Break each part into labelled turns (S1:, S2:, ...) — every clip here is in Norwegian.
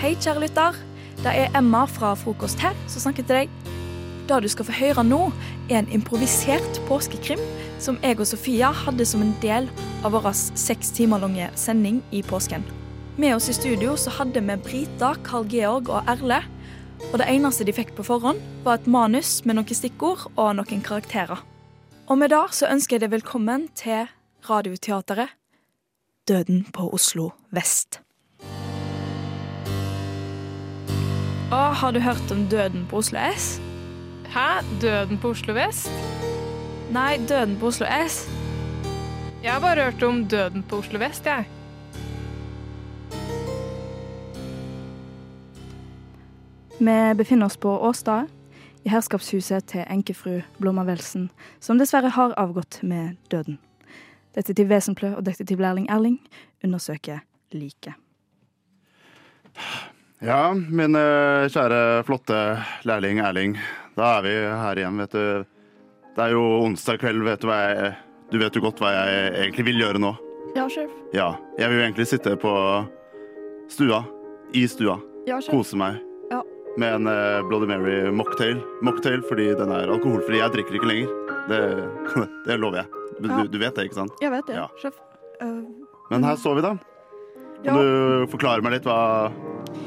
S1: Hei, kjære lytter. Det er Emma fra Frokost her som snakker til deg. Det du skal få høre nå, er en improvisert påskekrim som jeg og Sofia hadde som en del av vår seks timer lange sending i påsken. Med oss i studio så hadde vi Brita, Carl Georg og Erle. Og det eneste de fikk på forhånd, var et manus med noen stikkord og noen karakterer. Og med det så ønsker jeg deg velkommen til Radioteateret Døden på Oslo vest. Å, har du hørt om Døden på Oslo S?
S2: Hæ? Døden på Oslo vest?
S1: Nei, Døden på Oslo S.
S2: Jeg har bare hørt om døden på Oslo vest, jeg.
S1: Vi befinner oss på Åstad, i herskapshuset til enkefru Blomma Welsen, som dessverre har avgått med døden. Detektiv Wesenplø og detektiv Lærling Erling undersøker liket.
S3: Ja, min eh, kjære flotte lærling Erling. Da er vi her igjen, vet du. Det er jo onsdag kveld, vet du hva jeg Du vet jo godt hva jeg egentlig vil gjøre nå.
S4: Ja, sjef.
S3: Ja, jeg vil jo egentlig sitte på stua. I stua.
S4: Ja, sjef.
S3: Kose meg.
S4: Ja.
S3: Med en eh, Bloody Mary mocktail. Mocktail fordi den er alkoholfri. Jeg drikker ikke lenger. Det, det lover jeg. Du,
S4: Ja.
S3: du vet det, ikke sant?
S4: Jeg vet det,
S3: Ja.
S4: sjef. Eh,
S3: Men her står vi, da.
S4: ja,
S3: Kan du forklare meg litt hva,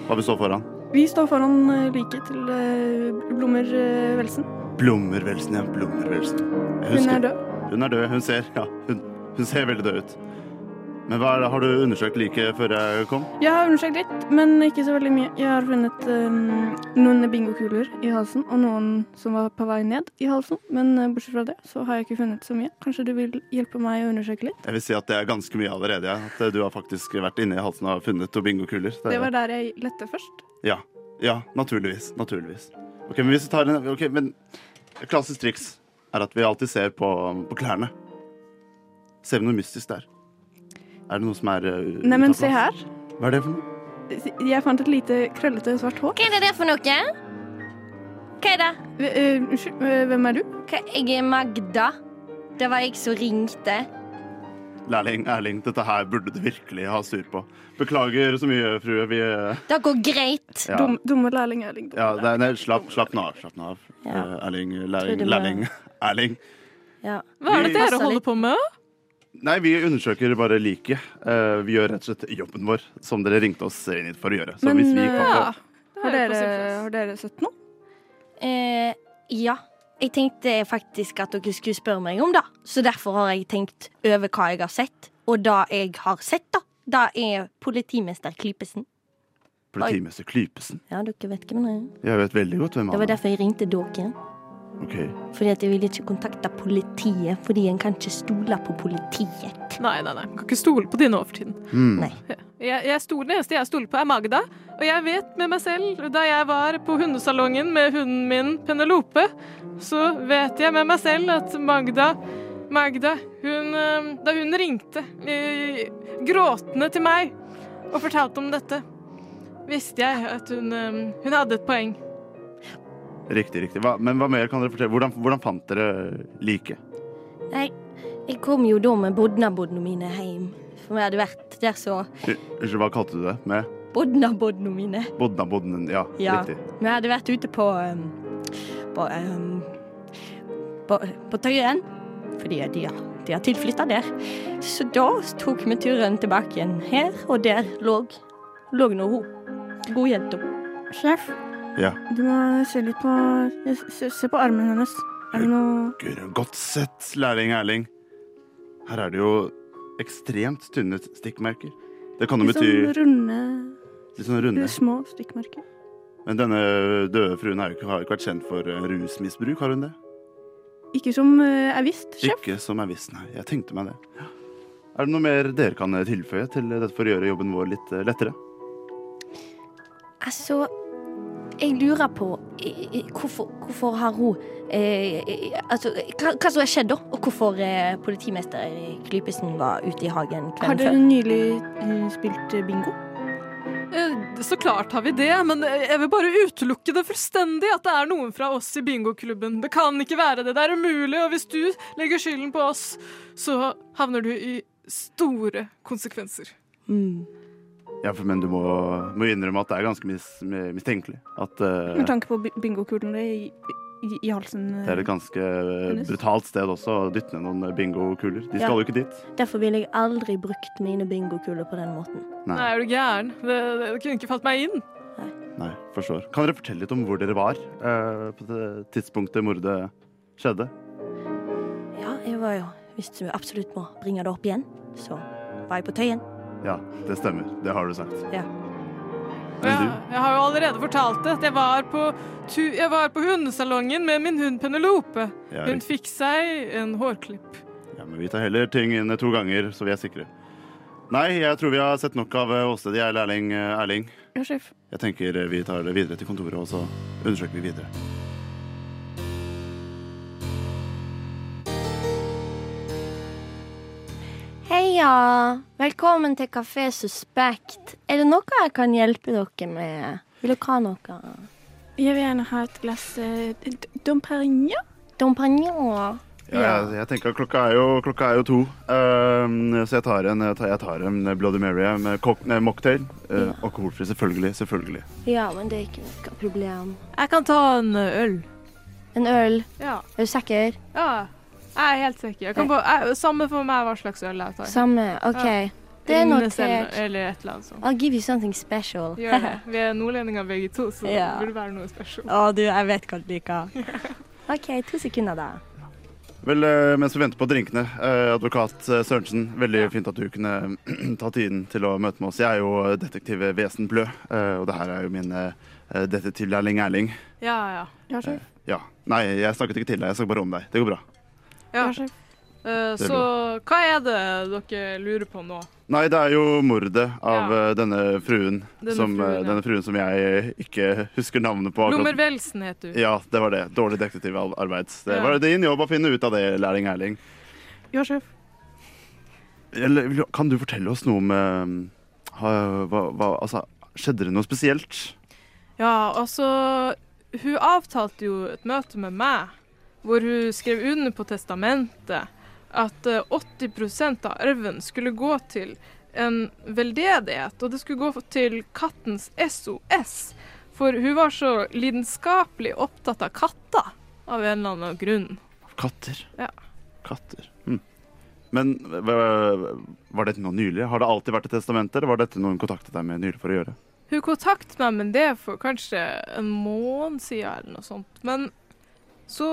S3: hva vi står foran?
S4: vi står foran eh, liket til eh, Blommer eh, Welsen.
S3: Blommervelsen, ja. Blommervelsen. Jeg
S4: Hun
S3: husker-
S4: er død.
S3: Hun er død. Hun ser, ja, hun, hun ser veldig død ut. Men hva er det, har du undersøkt liket før jeg kom?
S4: Jeg har undersøkt litt, men ikke så veldig mye. Jeg har funnet eh, noen bingokuler i halsen, og noen som var på vei ned i halsen. Men eh, bortsett fra det så har jeg ikke funnet så mye. Kanskje du vil hjelpe meg å undersøke litt?
S3: Jeg vil si at det er ganske mye allerede. Ja. At eh, du har faktisk vært inne i halsen og funnet to bingokuler.
S4: Det var der jeg lette først.
S3: Ja, ja, naturligvis. Naturligvis. Ok, men hvis vi tar en Ok, men et klassisk triks er at vi alltid ser på, på klærne. Ser vi noe mystisk der? Er det noe som er eh, ute av
S4: Neimen, se
S3: plass?
S4: her.
S3: Hva er det for noe?
S4: Jeg fant et lite krøllete svart hår.
S5: Hva er det der for noe? Hva er det?
S4: Eh, eh, Unnskyld, eh, hvem er du?
S5: Hva, jeg er Magda. Det var jeg som ringte.
S3: Lærling, Erling, dette her burde du virkelig ha styr på. Beklager så mye, frue. Vi eh,
S5: Det går greit.
S3: ja.
S4: Dum, dumme lærling Erling.
S3: Ja, nei, nei, slapp, slapp nå av. Slapp nå av.
S5: Ja.
S3: Eh, Erling,
S5: Tror
S3: lærling,
S5: du må-
S3: lærling, Erling.
S5: Ja.
S2: Hva er det
S3: Vi-
S2: dere
S5: Passa
S2: holder
S5: litt.
S2: på med?
S3: Nei, vi undersøker bare liket. Eh, vi gjør rett og slett jobben vår, som dere ringte oss inn hit for å gjøre. Så
S4: Men,
S3: hvis vi
S4: eh,
S3: kan få
S2: Det
S4: Har
S2: er jo på
S4: dere,
S2: sin plass.
S4: har dere sett noe?
S5: Eh, ja. Jeg tenkte faktisk at dere skulle spørre meg om det. Så derfor har jeg tenkt over hva jeg har sett. Og det jeg har sett, da, det er politimester Klypesen.
S3: politimester Klypesen.
S5: Ja, dere vet hvem det er.
S3: Jeg vet veldig godt hvem
S5: Det
S3: han
S5: var
S3: er.
S5: derfor jeg ringte dere.
S3: Ok.
S5: Fordi at jeg ville ikke kontakte politiet, fordi en kan ikke stole på politiet.
S2: Nei, nei, nei. Man kan ikke stole på de nå for tiden.
S3: Hmm.
S5: Nei.
S2: Jeg, jeg stoler, det eneste jeg stoler på, er Magda. Og jeg vet med meg selv, da jeg var på hundesalongen med hunden min Penelope, så vet jeg med meg selv at Magda Magda, hun eh, Da hun ringte eh, gråtende til meg og fortalte om dette, visste jeg at hun, eh, hun hadde et poeng.
S3: Riktig, riktig. Hva, men hva mer kan dere fortelle? Hvordan, hvordan fant dere liket?
S5: Nei, jeg kom jo da med bodnabodna mine hjem. For vi hadde vært der så
S3: U- Unnskyld, hva kalte du det? Med
S5: Bodnabodna mine.
S3: Bodna Bodnen? Ja,
S5: Ja.
S3: riktig.
S5: Vi hadde vært ute på um, på, um, på, på Tøyen. Fordi de har, de har tilflytta der. Så da tok vi turen tilbake igjen her, og der lå lå nå hun. Godjenta.
S4: Sjef,
S3: Ja.
S4: du må se litt på Se, se på armen hennes. Er det noe
S3: Gud, godt sett, lærling Erling. Her er det jo ekstremt tynne stikkmerker. Det kan jo
S4: litt sånn
S3: bety
S4: runde,
S3: litt sånn runde.
S4: små stykkmerker?
S3: Men denne døde fruen har jo ikke, har ikke vært kjent for eh, rusmisbruk, har hun det?
S4: Ikke som eh, er visst, sjef.
S3: Ikke som jeg visste, nei. Jeg tenkte meg det. Ja. Er det noe mer dere kan eh, tilføye til dette for å gjøre jobben vår litt eh, lettere?
S5: Altså, jeg lurer på eh, eh, hvorfor, hvorfor har hun eh, eh, Altså, hva, hva som har skjedd da? Og hvorfor eh, politimester Klypesen var ute i hagen
S4: Har
S5: kvelden
S4: dere
S5: før?
S4: nylig eh, spilt eh, bingo?
S2: Eh, Så klart har vi det, men jeg vil bare utelukke det fullstendig at det er noen fra oss i bingoklubben. Det kan ikke være det. Det er umulig, og hvis du legger skylden på oss, så havner du i store konsekvenser.
S5: Mm.
S3: Ja, for, men du må, må innrømme at det er ganske mis, mi- mistenkelig. At eh,
S4: Med tanke på bi- bingokulene i, i, i halsen. eh.
S3: det er et ganske eh,
S4: Hennes.
S3: brutalt sted også å dytte ned noen eh, bingokuler. De skal
S5: Ja.
S3: jo ikke dit.
S5: Derfor ville jeg aldri brukt mine bingokuler på den måten.
S3: Nei.
S2: Nei, er du gæren? Det, det, det kunne ikke falt meg inn.
S3: Nei, forstår. Kan dere fortelle litt om hvor dere var eh, på det tidspunktet mordet skjedde?
S5: Ja, jeg var jo Hvis du absolutt må bringe det opp igjen, så var jeg på Tøyen.
S3: Ja, det stemmer. Det har du sagt.
S5: Ja.
S2: Og
S3: Men
S2: Jeg,
S3: du,
S2: jeg har jo allerede fortalt det, at jeg var på, tu, jeg var på hundesalongen med min hund Penelope.
S3: ja,
S2: Hun
S3: riktig.
S2: fikk seg en hårklipp.
S3: ja, men vi tar heller ting inn eh, to ganger, så vi er sikre. Nei, jeg tror vi har sett nok av eh, åstedet. Jeg er lærling eh, Erling.
S4: Ja, sjef.
S3: Jeg tenker eh, vi tar det videre til kontoret, og så undersøker vi videre.
S5: Heia! Velkommen til Kafé Suspekt. Er det noe jeg kan hjelpe dere med? Vil dere ha noe?
S4: Jeg vil gjerne ha et glass eh, d- Dom Perignon.
S5: Dompagnon?
S3: Ja, jeg, jeg tenker at klokka er jo, klokka er jo to, Ehm, så jeg tar en, jeg tar, jeg tar en Bloody Mary eh, med kok- nei, mocktail. Uh, Alkoholfri, selvfølgelig. selvfølgelig.
S5: Ja, men det er ikke noe problem.
S6: Jeg kan ta en øl.
S5: En øl?
S2: Ja.
S5: Er du sikker?
S2: ja. Jeg er helt sikker. Jeg kan få, jeg, samme for meg hva slags øl jeg tar.
S5: Samme? eh,
S4: Ah.
S5: OK. Det er
S2: Guinness eller-
S5: notert.
S2: Eller et eller annet sånt.
S5: I'll give you something special.
S2: Gjør det. Vi er nordlendinger begge to, så
S6: Ja.
S2: det burde være noe spesielt.
S6: Å, du, jeg vet hva du liker.
S5: OK, to sekunder, da.
S3: Vel, eh, mens vi venter på drinkene, eh, advokat eh, Sørensen, veldig fint at du kunne ta tiden til å møte med oss. Jeg er jo eh, detektiv Vesen Blø, eh, og det her er jo min eh, detektivlærling Erling.
S2: Ja, ja.
S4: Ja, sjef.
S3: Ja. Nei, jeg snakket ikke til deg, jeg snakket bare om deg. Det går bra.
S4: Ja,
S2: ja.
S4: sjef.
S2: Eh,
S3: Det er
S2: så hva er det dere lurer på nå?
S3: Nei, det er jo mordet av
S2: Ja.
S3: eh, denne fruen.
S2: Denne
S3: som, eh,
S2: fruen, ja.
S3: denne fruen som jeg eh, ikke husker navnet på. akkurat.
S2: Lommervelsen heter du.
S3: Ja, det var det. Dårlig detektivarbeid. Det
S2: Ja.
S3: var din jobb å finne ut av det, lærling Erling.
S4: Ja, sjef.
S3: Eller, vil du- kan du fortelle oss noe om eh, ha- hva, hva, altså, Skjedde det noe spesielt?
S2: Ja, altså Hun avtalte jo et møte med meg, hvor hun skrev under på testamentet at eh, 80 av arven skulle gå til en veldedighet, og det skulle gå til kattens SOS. For hun var så lidenskapelig opptatt av katter, av en eller annen grunn.
S3: Katter.
S2: Ja.
S3: Katter. Hm. Men hva- hva- var dette noe nylig? Har det alltid vært et testament, eller var dette noe hun kontaktet deg med nylig for å gjøre?
S2: Hun kontaktet meg med det for kanskje en måned siden eller noe sånt. Men så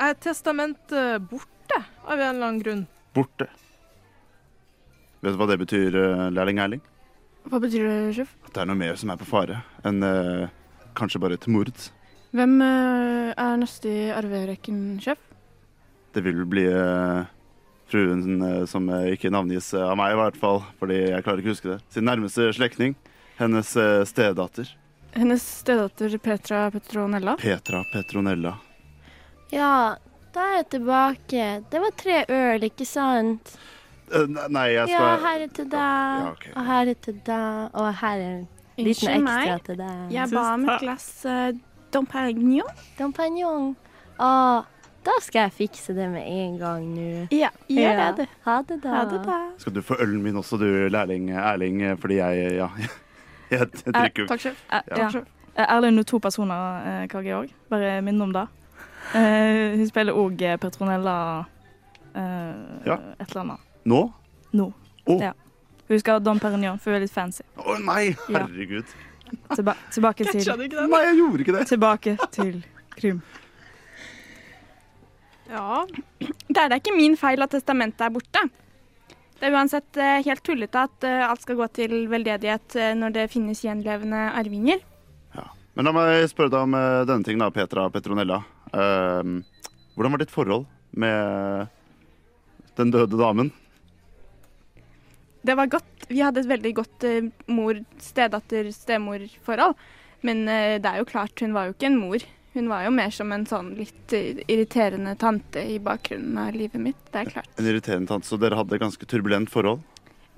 S2: er testamentet borte av en eller annen grunn.
S3: Borte. Vet du hva det betyr, eh, lærling Erling?
S4: Hva betyr det, sjef?
S3: At det er noe mer som er på fare enn eh, kanskje bare et mord.
S4: Hvem eh, er neste i arverekken, sjef?
S3: Det vil bli eh, fruen eh, som eh, ikke navngis eh, av meg, i hvert fall. Fordi jeg klarer ikke å huske det. Sin nærmeste slektning. Hennes eh, stedatter.
S4: Hennes stedatter Petra Petronella.
S3: Petra Petronella.
S5: Ja, da er jeg tilbake. Det var tre øl, ikke sant?
S3: Eh, ne- nei, jeg
S5: Ja,
S3: skal
S5: her er til deg,
S3: Ja, ok.
S5: og her er til deg, og her er en liten
S4: Unnskyld meg.
S5: ekstra til deg.
S4: Jeg ba om et glass eh, Dom Perignon.
S5: Dompanjong. Å, da skal jeg fikse det med en gang nå.
S4: Ja, gjør
S5: Ja.
S4: det.
S5: Ha det da.
S4: Ha det, da.
S3: Skal du få ølen min også, du lærling Erling? eh, Fordi jeg Ja. Jeg, jeg drikker jo ikke.
S4: Takk, sjef.
S3: Ja.
S4: Takk,
S1: Eh, Ja.
S4: sjef.
S1: Erlend er to personer, eh, Kage òg. Bare minn om det. Eh, hun spiller òg Petronella eh,
S3: Ja.
S1: et eller annet
S3: Nå?
S1: nå.
S3: Å.
S1: Ja. Hun skal ha Dom Perignon, for hun er litt fancy.
S3: Å nei!
S1: Ja.
S3: Herregud.
S1: Tilba tilbake til
S3: Nei, jeg gjorde ikke det.
S1: Tilbake til krim.
S2: Ja,
S4: Det er da ikke min feil at testamentet er borte. Det er uansett eh, helt tullete at eh, alt skal gå til veldedighet eh, når det finnes gjenlevende arvinger.
S3: Ja. Men la meg spørre deg om eh, denne tingen, da, Petra Petronella. Eh, hvordan var ditt forhold med den døde damen?
S4: Det var godt. Vi hadde et veldig godt eh, mor-stedatter-stemor-forhold. Men eh, det er jo klart, hun var jo ikke en mor. Hun var jo mer som en sånn litt eh, irriterende tante i bakgrunnen av livet mitt. Det er klart.
S3: En irriterende tante, så dere hadde et ganske turbulent forhold?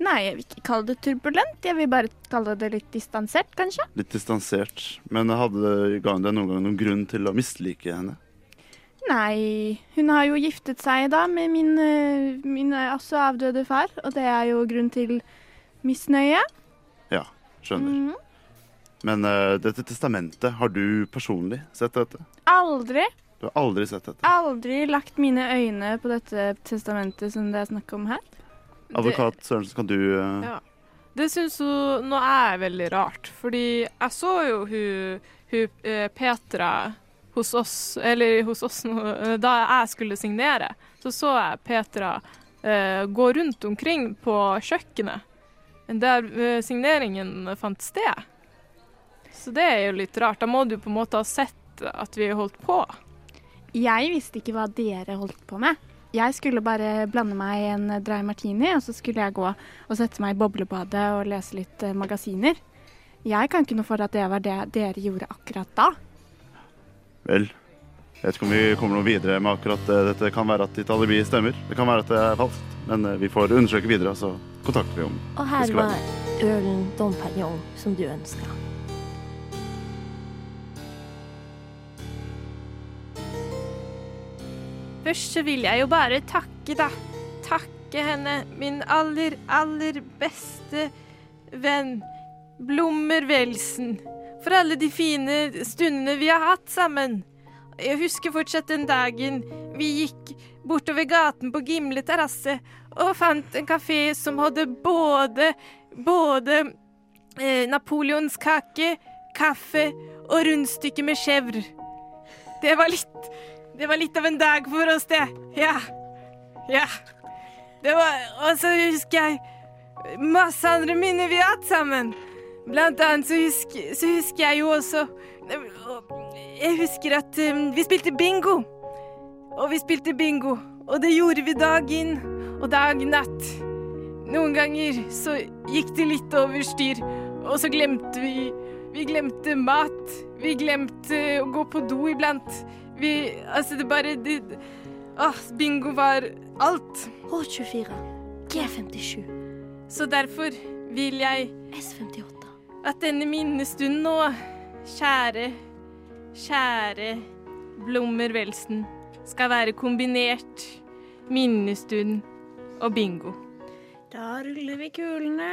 S4: Nei, jeg vil ikke kalle det turbulent. Jeg vil bare kalle det litt distansert, kanskje.
S3: Litt distansert. Men hadde, ga hun deg noen gang noen grunn til å mislike henne?
S4: Nei, hun har jo giftet seg da med min, altså eh, min eh, også avdøde far, og det er jo grunn til misnøye. Mhm.
S3: Skjønner.
S2: Mm.
S3: Men eh, dette testamentet, har du personlig sett dette?
S4: Aldri,
S3: Du har aldri sett dette.
S4: aldri lagt mine øyne på dette testamentet som det er snakk om her.
S3: Advokat Sørensen, kan du eh,
S2: Ja. Det syns hun nå er veldig rart, fordi jeg så jo hun, hun eh, Petra hos oss, eller hos oss nå, eh, da jeg skulle signere, så så jeg Petra eh, gå rundt omkring på kjøkkenet, der eh, signeringen fant sted. Så det er jo litt rart. Da må du på en måte ha sett at vi holdt på.
S4: Jeg visste ikke hva dere holdt på med. Jeg skulle bare blande meg i en dry martini, og så skulle jeg gå og sette meg i boblebadet og lese litt eh, magasiner. Jeg kan ikke noe for at det var det dere gjorde akkurat da.
S3: Vel, jeg vet ikke om vi kommer noe videre med akkurat eh, dette. Det kan være at ditt alibi stemmer. Det kan være at det er falskt. Men eh, vi får undersøke videre, og så kontakter vi om
S5: Og
S3: Det
S5: her
S3: skal
S5: var ølen Dom Pignon som du ønska.
S2: Først så vil jeg jo bare takke, da. Takke henne, min aller, aller beste venn, Blommer Welsen, for alle de fine stundene vi har hatt sammen. Jeg husker fortsatt den dagen vi gikk bortover gaten på Gimle terrasse og fant en kafé som hadde både, både eh, napoleonskake, kaffe og rundstykke med chèvre. Det var litt det var litt av en dag for oss, det. Ja. Ja. Det var Og så husker jeg masse andre minner vi har hatt sammen. Blant annet så husker, så husker jeg jo også Jeg husker at um, vi spilte bingo. Og vi spilte bingo. Og det gjorde vi dag inn og dag natt. Noen ganger så gikk det litt over styr, og så glemte vi Vi glemte mat. Vi glemte å gå på do iblant. Vi Altså, det bare det, Åh, bingo var alt.
S5: H24, G57,
S2: Så derfor vil jeg
S5: S58.
S2: at denne minnestunden nå, kjære, kjære Blommer Welsen, skal være kombinert minnestund og bingo.
S4: Da ruller vi kulene.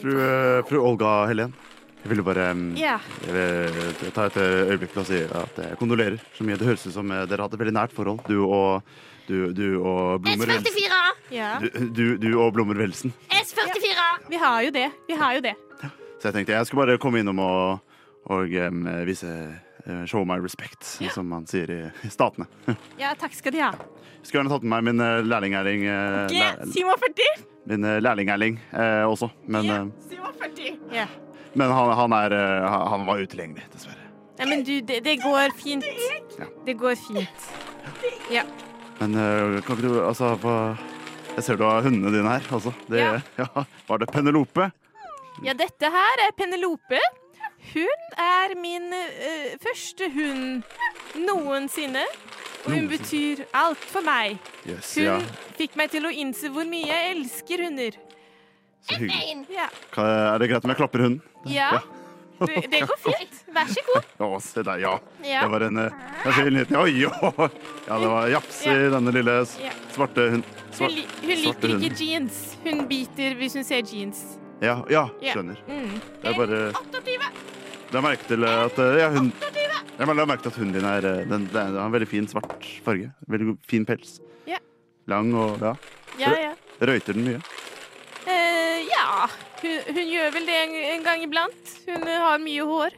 S3: Fru, eh, fru Olga Helen. Jeg ville bare mm,
S2: Ja.
S3: Jeg vil eh, ta et øyeblikk til å si at jeg kondolerer så mye. Det høres ut som eh, dere hadde et veldig nært forhold, du og, du, du og Blommer Welsen.
S5: S44!
S3: Du, du, du og Blommer Welsen.
S5: S44!
S2: Vi har jo det. Vi har jo det.
S3: Så jeg tenkte jeg skulle bare komme innom og, og em, vise eh, Show my respect, som man sier i, i Statene.
S2: Ja, takk skal de ha.
S3: Jeg skulle gjerne tatt med meg min eh, lærling-erling eh, lær-
S2: Simon 40!
S3: Min eh, lærling-erling eh, også, men, eh,
S2: Simon 40.
S3: men han, han, er, eh, han- han var utilgjengelig, dessverre.
S2: Nei, men du, det, det går fint.
S3: Ja.
S2: Det går fint.
S3: Men eh, kan ikke du Altså, hva Jeg ser du har hundene dine her, altså. Det, ja.
S2: Ja.
S3: Var det Penelope?
S2: Ja, dette her er Penelope. Hun er min eh, første hund noensinne. Og hun
S3: Noensinne.
S2: betyr alt for meg.
S3: Yes,
S2: Hun
S3: ja.
S2: fikk meg til å innse hvor mye jeg elsker hunder.
S3: Så hyggelig.
S2: Ja,
S3: Ka- Er det greit om jeg klapper hunden?
S2: ja. Det, det går fint. Vær så god.
S3: Å, se der, ja.
S2: Ja.
S3: Det var en eh, det var fin liten Oi, oi! Ja, det var japs i denne lille s-
S2: Ja.
S3: svarte hunden.
S2: Hun,
S3: Svart.
S2: li- hun
S3: svarte
S2: liker ikke
S3: hunden.
S2: jeans. Hun biter hvis hun ser jeans.
S3: Ja, ja,
S2: Ja.
S3: skjønner.
S2: Mm.
S3: Det er bare La merke til at eh, ja, hun Jeg bare la merke til at hunden din er eh, den, den har en veldig fin svart farge. Veldig god- fin pels.
S2: Ja.
S3: Lang og ja.
S2: Ja, ja.
S3: Røyter den mye?
S2: Eh, ja. Hun, hun gjør vel det en, en gang iblant. Hun eh, har mye hår.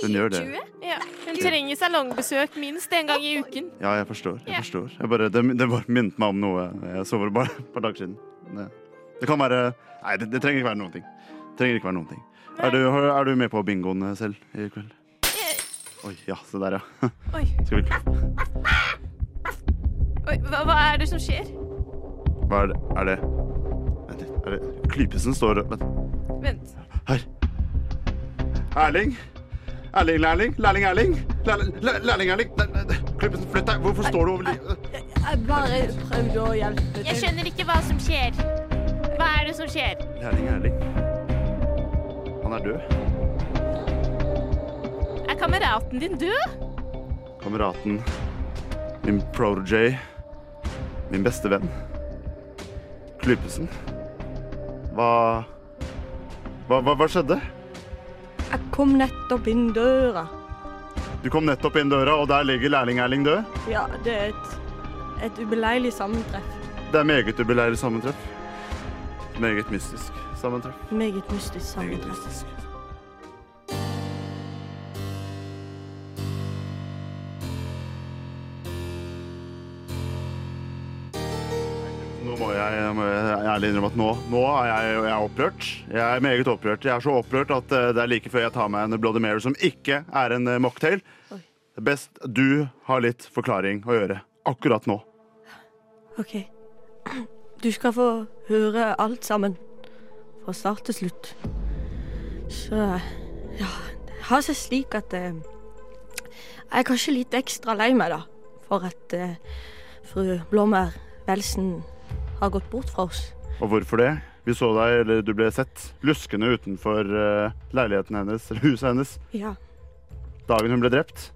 S3: Hun gjør det.
S2: Ja. Hun trenger salongbesøk minst en gang i uken.
S3: Ja, jeg forstår. jeg
S2: Ja.
S3: forstår. Jeg bare, det, det bare minnet meg om noe jeg så for bare et par dager siden. Det, det kan være Nei, det, det trenger ikke være noen ting. Trenger ikke være noen ting. Er du, har- er du med på bingoen eh, selv i kveld? Oi, ja. Se der, ja.
S2: Eh. Oi.
S3: Skal vi
S2: Oi, hva, hva er det som skjer?
S3: Hva er det? Er det Vent litt. Er det Klypesen står og Vent.
S2: Vent.
S3: Her. Erling? Erling, lærling? Lærling, Erling? Lærling, lærling, Erling? Nei, nei, nei. Klypesen, flytt deg! Hvorfor står du over li-
S6: Jeg bare prøvde å hjelpe
S2: Jeg skjønner ikke hva som skjer. Hva er det som skjer?
S3: Lærling, Erling. Han er død.
S2: Er kameraten din død?
S3: kameraten, min protégé, min beste venn, Klypesen. Hva Hva, hva, hva skjedde?
S5: Jeg kom nettopp inn døra.
S3: Du kom nettopp inn døra, og der ligger lærling-Erling død.
S5: Ja, det er et, et ubeleilig sammentreff.
S3: Det er meget ubeleilig sammentreff. Meget mystisk sammentreff.
S5: Meget mystisk
S3: Meget
S5: sammentreff.
S3: mystisk. Nå må jeg, må jeg ærlig innrømme at nå, nå er jeg, jeg er opprørt. Jeg er meget opprørt. Jeg er så opprørt at eh, det er like før jeg tar meg en Bloody Mary som ikke er en eh, mocktail. Det er best du har litt forklaring å gjøre akkurat nå.
S5: OK. Du skal få høre alt sammen. Fra start til slutt. Så ja Det har seg slik at eh, Jeg er kanskje litt ekstra lei meg, da. For at eh, fru Blåmær Velsen har gått bort fra oss.
S3: Og hvorfor det? Vi så deg, eller du ble sett, luskende utenfor eh, leiligheten hennes, eller huset hennes,
S5: Ja.
S3: dagen hun ble drept.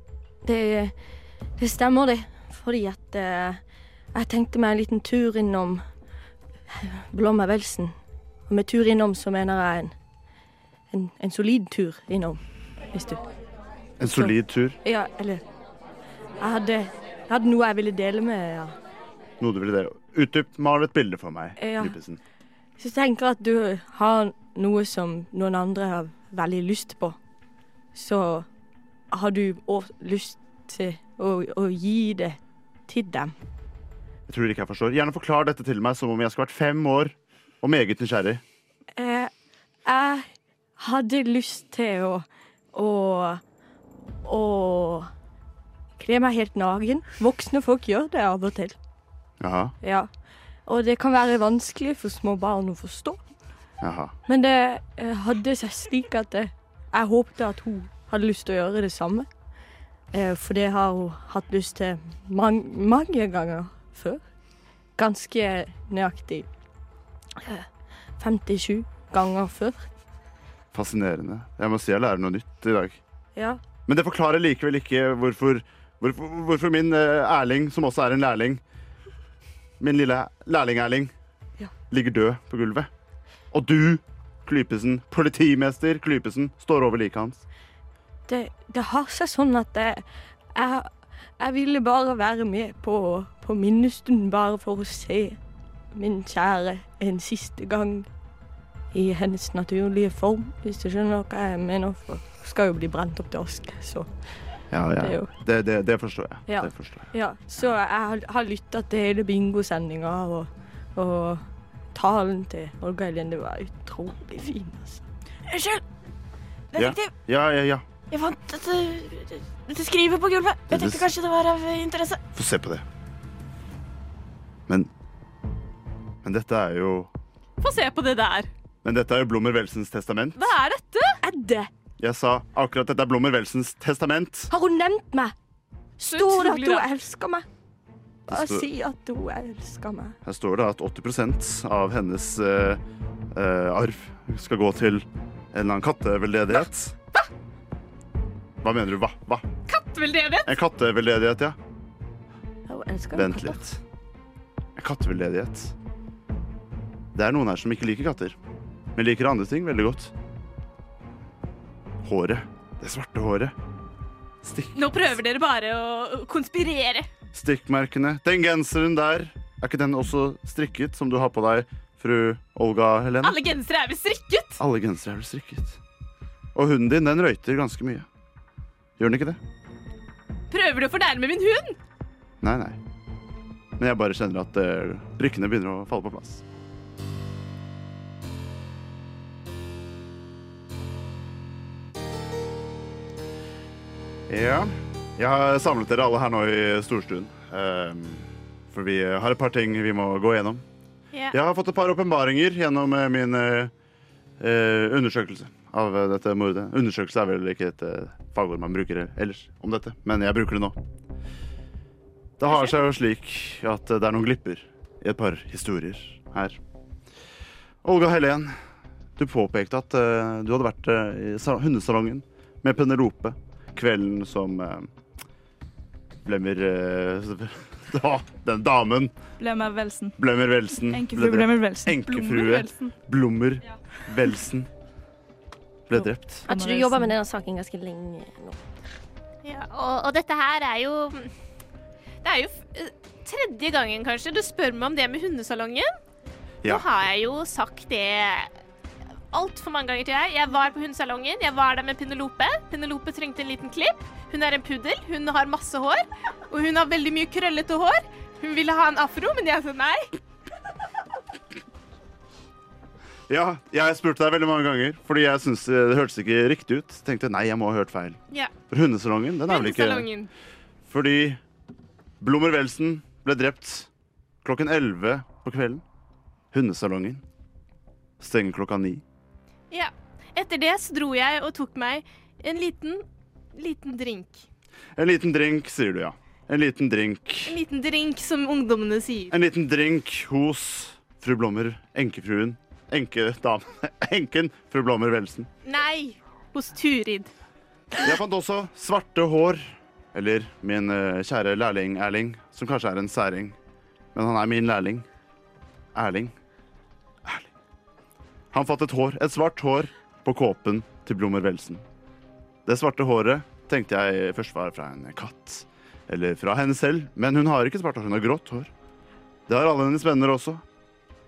S5: Det, det stemmer, det. Fordi at eh, jeg tenkte meg en liten tur innom Blåmær Velsen. Og med tur innom så mener jeg en, en, en solid tur innom, hvis du
S3: En solid tur.
S5: Ja, eller Jeg hadde, jeg hadde noe jeg ville dele med, ja.
S3: Noe du ville dele. Utdyp, mal et bilde for meg,
S5: Ja.
S3: Lippesen.
S5: Så jeg tenker at du har noe som noen andre har veldig lyst på. Så har du òg lyst til å, å gi det til dem.
S3: Jeg tror ikke jeg forstår. Gjerne forklar dette til meg som om jeg skulle vært fem år og meget nysgjerrig.
S5: Eh, jeg hadde lyst til å å, å kle meg helt naken. Voksne folk gjør det av og til.
S3: Jaha,
S5: Ja. Og det kan være vanskelig for små barn å forstå.
S3: jaha.
S5: Men det eh, hadde seg slik at eh, jeg håpte at hun hadde lyst til å gjøre det samme. Eh, For det har hun hatt lyst til mange, mange ganger før. Ganske nøyaktig eh, 57 ganger før.
S3: Fascinerende. Jeg må si jeg lærer noe nytt i dag.
S5: Ja.
S3: Men det forklarer likevel ikke hvorfor, hvorfor, hvorfor min eh, Erling, som også er en lærling, min lille lærling-Erling,
S5: Ja.
S3: ligger død på gulvet. Og du, Klypesen, politimester Klypesen, står over liket hans.
S5: Det, det har seg sånn at jeg, jeg, jeg ville bare være med på, på minnestunden, bare for å se min kjære en siste gang i hennes naturlige form, hvis du skjønner hva jeg mener. For hun skal jo bli brent opp til aske, så
S3: Ja,
S5: det er jo
S3: Det, det, det forstår jeg.
S5: Ja.
S3: Det forstår jeg.
S5: Ja, så jeg har- har lytta til hele bingosendinga og, og talen til Olga Elien. Det var utrolig fin, altså.
S6: Unnskyld!
S3: Ja.
S6: Detektiv,
S3: Ja, ja, ja.
S6: jeg fant dette, dette skrivet på gulvet. Jeg tenkte kanskje det var av interesse.
S3: Få se på det. Men Men dette er jo
S2: Få se på det der.
S3: Men dette er jo Blommer Welsens testament.
S2: Hva er dette?
S5: Edde,
S3: Jeg sa akkurat dette er Blommer Welsens testament.
S5: har hun nevnt meg?
S2: Så
S5: Står det at
S2: utrolig
S5: hun
S2: rart.
S5: elsker meg? Bare
S3: Det står-
S5: si at hun elsker meg.
S3: Her står det at 80 av hennes eh, eh, arv skal gå til en eller annen katteveldedighet. Hva mener du? Hva? Hva?
S2: Kattveldedighet?
S3: En katteveldedighet, ja.
S5: Hun elsker
S3: Vent
S5: katter.
S3: litt. En katteveldedighet. Det er noen her som ikke liker katter, men liker andre ting veldig godt. Håret. Det svarte håret. Stikk,
S2: Nå prøver dere bare å konspirere.
S3: stikkmerkene. Den genseren der, er ikke den også strikket som du har på deg, fru Olga Helene?
S2: Alle gensere er vel strikket?
S3: Alle gensere er vel strikket. Og hunden din, den røyter ganske mye. Gjør den ikke det?
S2: Prøver du å fornærme min hund?
S3: Nei, nei. Men jeg bare kjenner at eh, brikkene begynner å falle på plass. Ja, jeg har samlet dere alle her nå i storstuen. Ehm, for vi har et par ting vi må gå gjennom.
S2: Ja.
S3: Jeg har fått et par åpenbaringer gjennom eh, min eh, eh, undersøkelse av eh, dette mordet. Undersøkelse er vel ikke et eh, fagord man bruker ellers om dette, men jeg bruker det nå. Det har seg jo slik at det er noen glipper i et par historier her. Olga Helen, du påpekte at eh, du hadde vært eh, i sa- hundesalongen med Penelope kvelden som uh, Blemmer eh, da, Den damen,
S1: Blemmer Velsen.
S3: Blemmer Velsen,
S1: Enkefru
S3: ble drept.
S1: Blemmer Velsen.
S3: Enkefrue Blommer Velsen. ble drept.
S5: Jeg tror du jobber med denne saken ganske lenge nå.
S7: Ja, og, og dette her er jo Det er jo f- eh, tredje gangen, kanskje, du spør meg om det med hundesalongen.
S3: Ja.
S7: Nå har jeg jo sagt det altfor mange ganger til deg. Jeg var på hundesalongen, jeg var der med Penelope. Penelope trengte en liten klipp. Hun er en puddel, hun har masse hår, og hun har veldig mye krøllete hår. Hun ville ha en afro, men jeg sa nei.
S3: ja, jeg spurte deg veldig mange ganger, fordi jeg syntes eh, det hørtes ikke riktig ut. Så tenkte jeg nei, jeg må ha hørt feil.
S7: Ja.
S3: For hundesalongen, den er vel ikke
S2: Hundesalongen.
S3: Fordi Blommer-Welsen ble drept klokken 11 på kvelden. Hundesalongen stenger klokka 9.
S7: Ja. Etter det så dro jeg og tok meg en liten, liten drink.
S3: En liten drink, sier du, ja. En liten drink.
S7: En liten drink, som ungdommene sier.
S3: En liten drink hos fru Blommer, enkefruen, enkedamen, enken fru Blommer-Welsen.
S7: Nei, hos Turid.
S3: Jeg fant også svarte hår. Eller min eh, kjære lærling Erling, som kanskje er en særing. Men han er min lærling. Erling. Erling. Han fant et hår, et svart hår, på kåpen til Blommer-Welsen. Det svarte håret tenkte jeg først var fra en katt. Eller fra henne selv. Men hun har ikke svart hår, hun har grått hår. Det har alle hennes venner også.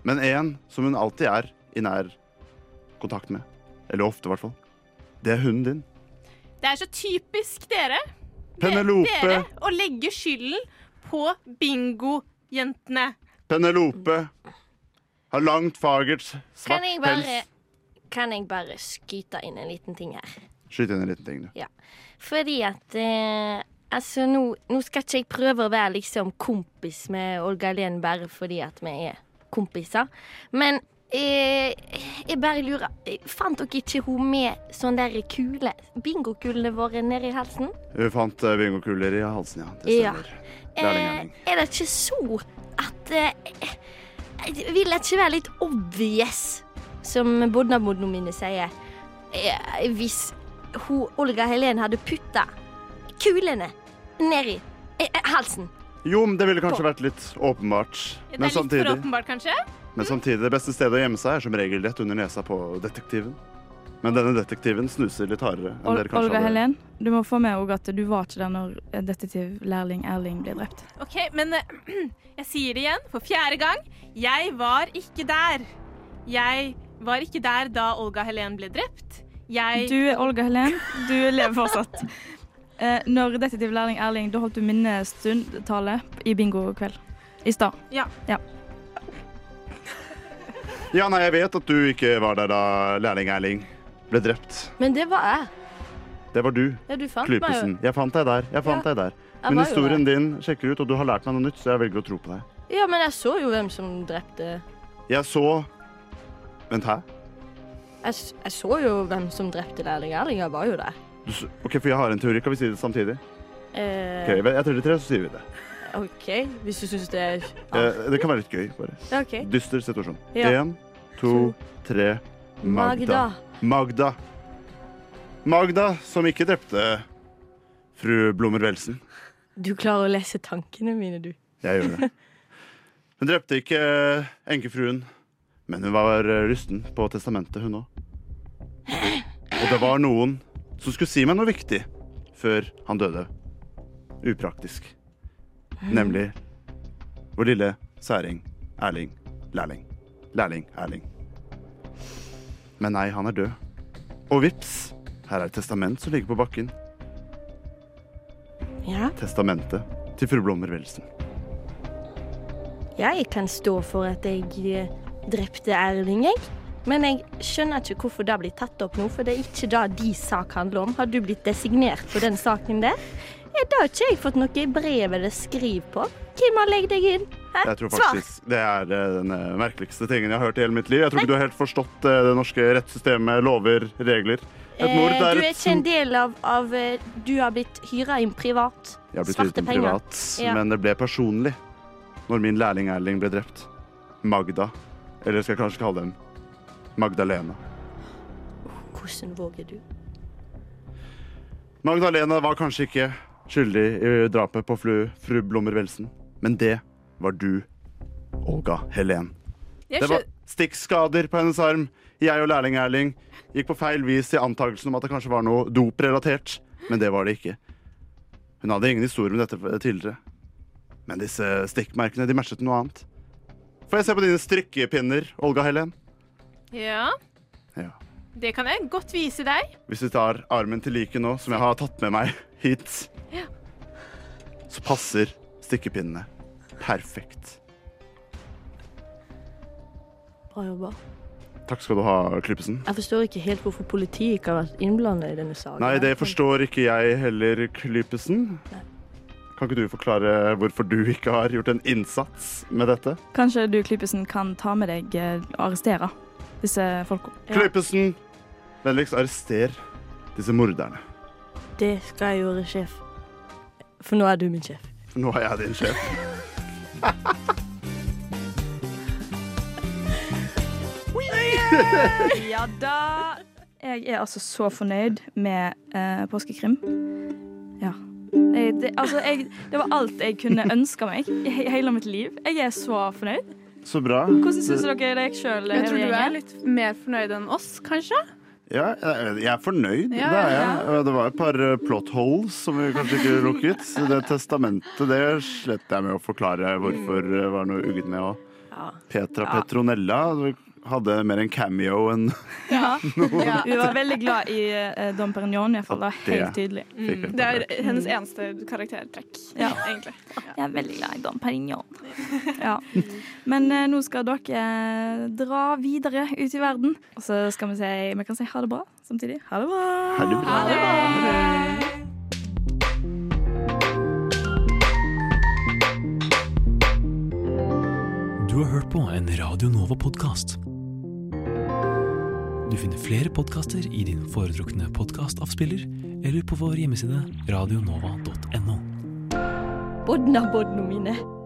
S3: Men én som hun alltid er i nær kontakt med. Eller ofte, i hvert fall. Det er hunden din.
S7: Det er så typisk dere,
S3: Penelope.
S7: dere å legge skylden på bingo-jentene.
S3: Penelope har langt, fagert, svart
S5: Kan jeg bare,
S3: pels.
S5: kan jeg bare skyte inn en liten ting her?
S3: Skyt inn en liten ting, du.
S5: Fordi at eh, Altså, nå, nå skal ikke jeg prøve å være liksom kompis med Olga Len bare fordi at vi er kompiser. Men eh, jeg bare lurer eh, Fant dere ikke hun med sånn der kule bingokulene våre nedi halsen?
S3: Hun fant eh, bingokuler i halsen, ja. Det
S5: Ja.
S3: stemmer. Lærling Erling.
S5: Eh, er det ikke så at eh, eh, Vil det ikke være litt obvious, som bodnabodene mine sier, eh, hvis hun, Olga Helen hadde putta kulene nedi eh, eh, halsen?
S3: Jo, men det ville kanskje vært litt åpenbart.
S7: Det er
S3: Men
S7: litt for
S3: samtidig,
S7: åpenbart, kanskje?
S3: men samtidig, det beste stedet å gjemme seg er som regel rett under nesa på detektiven. Men denne detektiven snuser litt hardere enn
S1: Ol
S3: dere kanskje
S1: Olga
S3: hadde-
S1: Helen, du må få med også at du var ikke der når eh, detektivlærling Erling ble drept.
S7: OK, men eh, jeg sier det igjen for fjerde gang. Jeg var ikke der. Jeg var ikke der da Olga Helen ble drept. Jeg
S1: Du er Olga Helen, du lever fortsatt. Eh, når detektivlærling Erling, da holdt du minnestundtale i bingokveld i stad.
S3: Ja, nei, jeg vet at du ikke var der da lærling Erling ble drept.
S5: Men det var jeg.
S3: Det var du,
S5: Ja, du fant
S3: Klypesen. Jeg fant deg der. Jeg fant deg der.
S5: Jeg
S3: Men
S5: var jo
S3: historien din sjekker ut, og du har lært meg noe nytt, så jeg velger å tro på deg.
S5: der. Ja, men jeg så jo hvem som drepte
S3: Jeg så Vent, hæ?
S5: Jeg, s- jeg så jo hvem som drepte lærling Erling. Jeg var jo der.
S3: Du s- OK, for jeg har en teori. Kan vi si det samtidig? Ok,
S5: Eh,
S3: Jeg jeg teller tre, så sier vi det.
S5: OK, hvis du syns det er
S3: Eh, Det kan være litt gøy, bare.
S5: Ja, OK.
S3: Dyster situasjon.
S5: Ja.
S3: Én, to, tre Magda.
S5: Magda.
S3: Magda. Magda som ikke drepte fru Blommer-Welsen.
S5: Du klarer å lese tankene mine, du.
S3: Jeg gjør det. Hun drepte ikke eh, enkefruen, men hun var eh, rusten på testamentet, hun òg. Og det var noen som skulle si meg noe viktig før han døde. Upraktisk. Nemlig vår lille særing Erling Lærling. Lærling Erling. Men nei, han er død. Og vips, her er et testament som ligger på bakken.
S5: Ja.
S3: Testamentet til fru Blommer-Welsen.
S5: Jeg kan stå for at jeg eh, drepte Erling, jeg. Men jeg skjønner ikke hvorfor det blir tatt opp nå, for det er ikke det de sak handler om. Har du blitt designert på den saken der? Ja, Da har ikke jeg fått noe i brevet det skriver på. Hvem har legget deg inn? Hæ?
S3: Jeg tror
S5: Svar!
S3: faktisk Det er eh, den eh, merkeligste tingen jeg har hørt i hele mitt liv. Jeg tror ikke du har helt forstått eh, det norske rettssystemet, lover, regler. Et mord
S5: Eh,
S3: er
S5: du er
S3: et
S5: ikke en del av, av eh, Du har blitt hyra inn privat.
S3: Jeg har blitt
S5: Svarte
S3: uten
S5: penger.
S3: privat,
S5: Ja.
S3: men det ble personlig når min lærling Erling ble drept. Magda. Eller skal jeg kanskje kalle dem Magdalena.
S5: Hvordan våger du?
S3: Magdalena var kanskje ikke skyldig i drapet på fru, fru Blommer-Welsen, men det var du, Olga Helen.
S7: Jeg
S3: Det var-
S7: skjø-
S3: stikkskader på hennes arm. Jeg og lærling Erling gikk på feil vis i antakelsen om at det kanskje var noe doprelatert, men det var det ikke. Hun hadde ingen historie om dette tidligere. Men disse stikkmerkene de matchet noe annet. Får jeg se på dine strikkepinner, Olga Helen?
S7: Ja,
S3: Ja.
S7: det kan jeg godt vise deg.
S3: Hvis vi tar armen til like nå, som jeg har tatt med meg hit, så passer stikkepinnene perfekt.
S5: Bra jobba.
S3: Takk skal du ha, Klypesen.
S5: Jeg forstår ikke helt hvorfor politiet ikke har vært innblandet i denne saken.
S3: Nei, det forstår ikke jeg heller, Klypesen.
S5: Nei.
S3: Kan ikke du forklare hvorfor du ikke har gjort en innsats med dette?
S1: Kanskje du, Klypesen, kan ta med deg eh, og arrestere disse folka.
S3: Klypesen, vennligst arrester disse morderne.
S5: Det skal jeg gjøre, sjef. For nå er du min sjef.
S3: For nå er jeg din sjef.
S1: Ja da! Jeg er altså så fornøyd med eh, påskekrim. Ja. Jeg, det, altså, jeg, det var alt jeg kunne ønske meg i he- hele mitt liv. Jeg er så fornøyd.
S3: Så bra.
S1: Hvordan syns dere det gikk sjøl?
S4: Jeg tror du er litt mer fornøyd enn oss, kanskje?
S3: Ja, jeg jeg er fornøyd.
S4: Ja,
S3: det er
S4: ja,
S3: jeg. Og Det var et par eh, plot holes som vi kanskje ikke lukket. Så Det testamentet det slet jeg med å forklare hvorfor det var noe ugget med. Og Petra Petronella hadde mer en cameo enn
S1: Hun var veldig glad i eh, Dom Perignon, iallfall. Det var helt tydelig.
S3: fikk
S4: Mm, Det er hennes eneste karaktertrekk,
S1: Ja.
S4: egentlig.
S1: Jeg er veldig glad i Dom Perignon. Ja. Men eh, nå skal dere eh, dra videre ut i verden. Og så skal vi si Vi kan si ha det bra samtidig. Ha det bra.
S3: Ha det bra.
S8: Du har hørt på en Radio Nova-podkast. Du finner flere podkaster i din foretrukne podkastavspiller eller på vår hjemmeside radionova.no.
S5: Bodna, bodna mine.